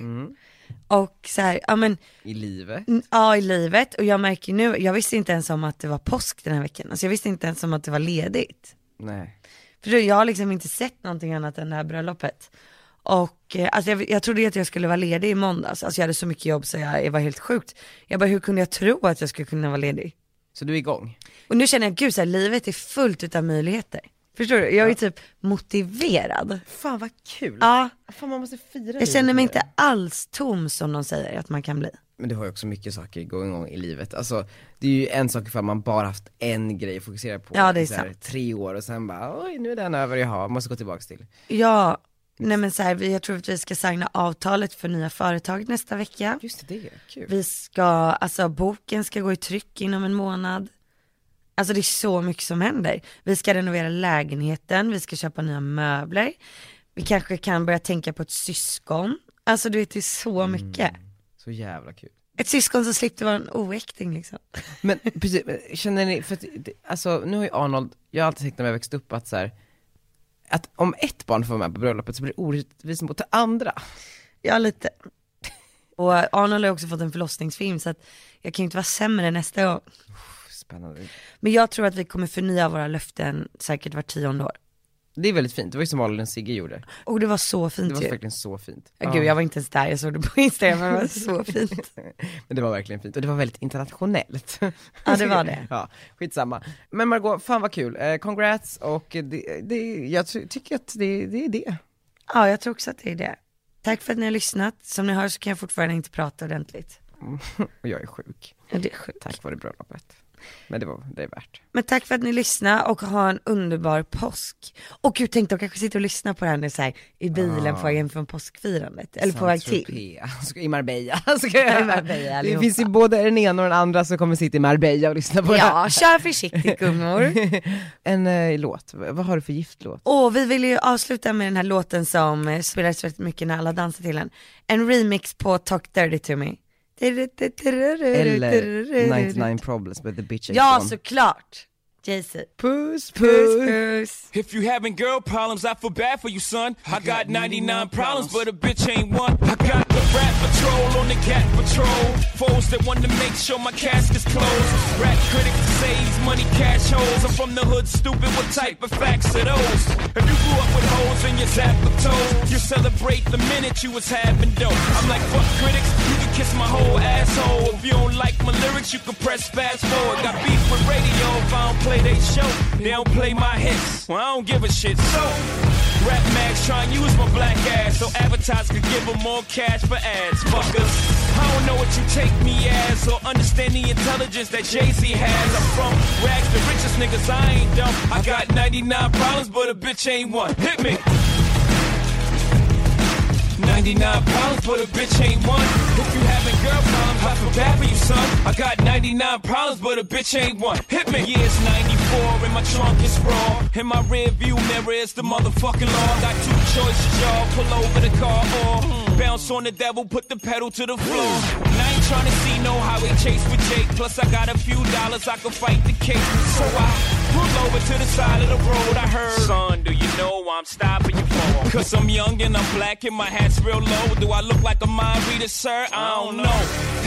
Och så här, ja men, i livet? n- ja i livet. Och jag märker nu, jag visste inte ens om att det var påsk den här veckan. Alltså jag visste inte ens om att det var ledigt. Nej. För då, jag har liksom inte sett någonting annat än det här bröllopet. Och eh, alltså jag, jag trodde ju att jag skulle vara ledig i måndags. Alltså jag hade så mycket jobb så jag, jag var helt sjukt. Jag bara, hur kunde jag tro att jag skulle kunna vara ledig? Så du är igång? Och nu känner jag, gud så här, livet är fullt av möjligheter. Förstår du? Jag är typ motiverad. Fan vad kul! Ja. Fan man måste fira Jag känner mig inte alls tom som de säger att man kan bli. Men du har ju också mycket saker going on i livet. Alltså det är ju en sak ifall man bara haft en grej att fokusera på Ja, det är i så här sant. tre år och sen bara oj nu är den över, jaha, måste gå tillbaks till. Ja, nej men så här, vi- jag tror att vi ska signa avtalet för nya företag nästa vecka. Just det, det är kul. Vi ska, alltså boken ska gå i tryck inom en månad. Alltså det är så mycket som händer. Vi ska renovera lägenheten, vi ska köpa nya möbler. Vi kanske kan börja tänka på ett syskon. Alltså du vet det är så Mm. mycket. Så jävla kul. Ett syskon som slipper vara en oäkting liksom. Men [laughs] precis, men känner ni, för att, det- alltså nu har ju Arnold, jag har alltid tänkt när jag växte upp att så här, att om ett barn får vara med på bröllopet så blir det orättvist mot det andra. Ja, lite. Och Arnold har också fått en förlossningsfilm så att jag kan ju inte vara sämre nästa gång. Spännande. Men jag tror att vi kommer förnya våra löften säkert var tionde år. Det är väldigt fint, det var ju som Malin och Sigge gjorde. Och det var så Det fint var ju. verkligen så fint. Typ. Ja, Gud jag var inte ens där, jag såg det på Instagram, men det var [laughs] så fint. Men det var verkligen fint och det var väldigt internationellt. Ja, [laughs] det var det. ja, skitsamma. Men Margot, fan vad kul. Eh, congrats och det, det, jag ty- tycker att det, det är det. Ja, jag tror också att det är det. Tack för att ni har lyssnat. Som ni hör så kan jag fortfarande inte prata ordentligt. Och jag är sjuk, Ja, det är sjukt. tack vare bröllopet. Men det var det är värt. Men tack för att ni lyssnade och ha en underbar påsk. Och gud, tänk de kanske sitter och lyssnar på det här nu så här, i bilen på väg hem från påskfirandet, eller på väg till. Saint-Tropez. Så- I Marbella. [laughs] Så kan jag- I Marbella, det allihopa. finns ju både den ena och den andra som kommer sitta i Marbella och lyssna på det här. [laughs] Ja, kör försiktigt [laughs] gummor. En eh, låt, V- vad har du för giftlåt? Och vi vill ju avsluta med den här låten som eh, spelades rätt mycket när alla dansade till den. En remix på Talk Dirty To Me. Eller 99 problems with the bitch Ja, ain't gone. såklart. Jay-Z. Puss, Puss, puss. puss. If you having girl problems, I feel bad for you, son. I got 99 problems, but a bitch ain't one. I got the rat patrol on the cat patrol. Foes that want to make sure my cask is closed. Rat critics saves money, cash holes. I'm from the hood, stupid. What type of facts are those? If you grew up with hoes in your zap of toes, you celebrate the minute you was having dope. I'm like, fuck critics, you can kiss my whole asshole. If you don't like my lyrics, you can press fast forward. Got beef with radio if I don't play they show. They don't play my hits. Well, I don't give a shit. So, rap mags try and use my black ass so advertisers could give them more cash for ads. Fuckers. I don't know what you take me as or understand the intelligence that Jay-Z has. I'm from rags, the richest niggas, I ain't dumb. I got 99 problems, but a bitch ain't one. Hit me. 99 problems, but a bitch ain't one. If you having girl problems, I feel bad for you, son. I got 99 problems, but a bitch ain't one. Hit me. Yeah, it's 94 and my trunk is raw. In my rear view mirror is the motherfucking law. Got two choices, y'all. Pull over the car or bounce on the devil, put the pedal to the floor. And I ain't tryna see no highway chase with Jake. Plus, I got a few dollars, I can fight the case. So I pull over to the side of the road. I heard, son, do you know why I'm stopping you for? Cause I'm young and I'm black and my hat's real low. Do I look like a mind reader, sir? I don't know.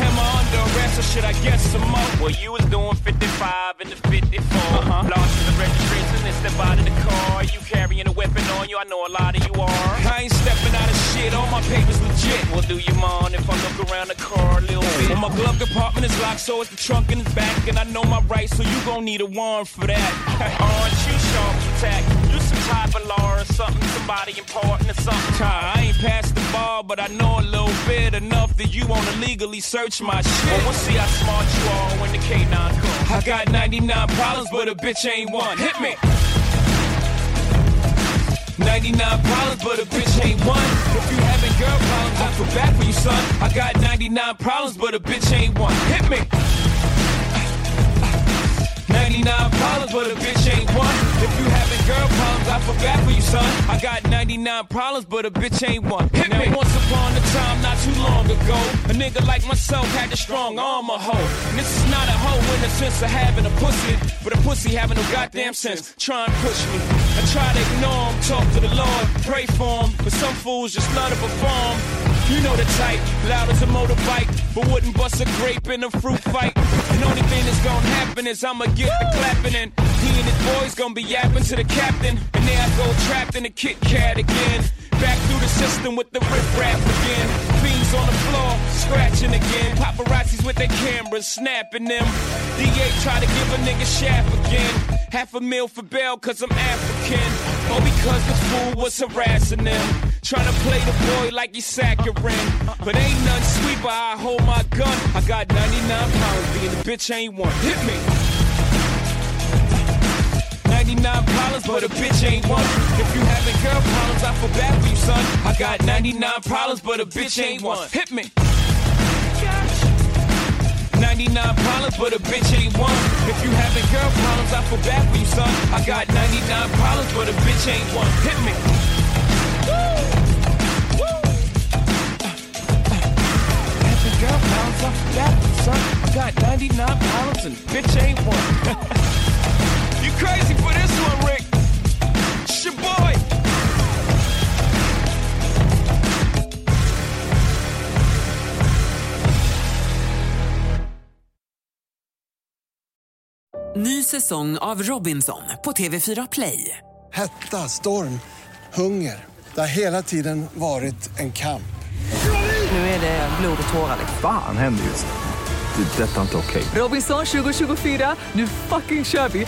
Am I under arrest or should I get some more? Well, you was doing 55 in the 54. Uh-huh. Lost in the registration and step out of the car. You carrying a weapon on you, I know a lot of you are. I ain't stepping out of shit, all my papers legit. Well, do you mind if I look around the car a little bit? Well, my glove compartment is locked, so it's the trunk in the back. And I know my rights, so you gon' need a warrant for that. [laughs] Aren't you sharp to attack? You some type of law or something, somebody important or something. Child, I ain't past the ball, but I know a little bit enough that you wanna legally search my shit. Well, we'll see how smart you are when the K9 comes. I got 99 problems, but a bitch ain't one. Hit me! 99 problems, but a bitch ain't one. If you having girl problems, I feel bad for you, son. I got 99 problems, but a bitch ain't one. Hit me. 99 problems, but a bitch ain't one. If you having girl problems, I feel bad for you, son. I got 99 problems, but a bitch ain't one. Hit now, me. once upon a time, not too long ago, a nigga like myself had a strong arm, a hoe. And this is not a hoe in the sense of having a pussy, but a pussy having no goddamn sense. Try and push me. I try to ignore him, talk to the Lord, pray for him, but some fools just love to perform. You know the type, loud as a motorbike, but wouldn't bust a grape in a fruit fight. And only thing that's gonna happen is I'ma get the clapping and he and his boys gonna be yapping to the captain. And there I go trapped in a Kit Kat again. Back through the system with the rip rap again. Fiends on the floor, scratching again. Paparazzis with their cameras, snapping them. DA try to give a nigga shaft again. Half a meal for bail, cause I'm African. Or because the fool was harassing them. Trying to play the boy like he's saccharine. But ain't none sweet, but I hold my gun. I got 99 pounds, being the bitch ain't one. Hit me. 99 problems, but a bitch ain't one. If you having girl problems, I feel bad for you, son. I got 99 problems, but a bitch ain't one. Hit me. 99 problems, but a bitch ain't one. If you having girl problems, I feel bad for you, son. I got 99 problems, but a bitch ain't one. Hit me. Woo! Woo! Having girl problems, I feel bad for you, son. I got 99 problems and bitch ain't one. you crazy for this one, Rick? It's your boy. Ny säsong av Robinson på TV4 Play. Hetta, storm, hunger. Det har hela tiden varit en kamp. Nu är det blod och tårar. Fan händer just nu. Det. är Detta är inte okej. Robinson 2024, nu fucking kör vi!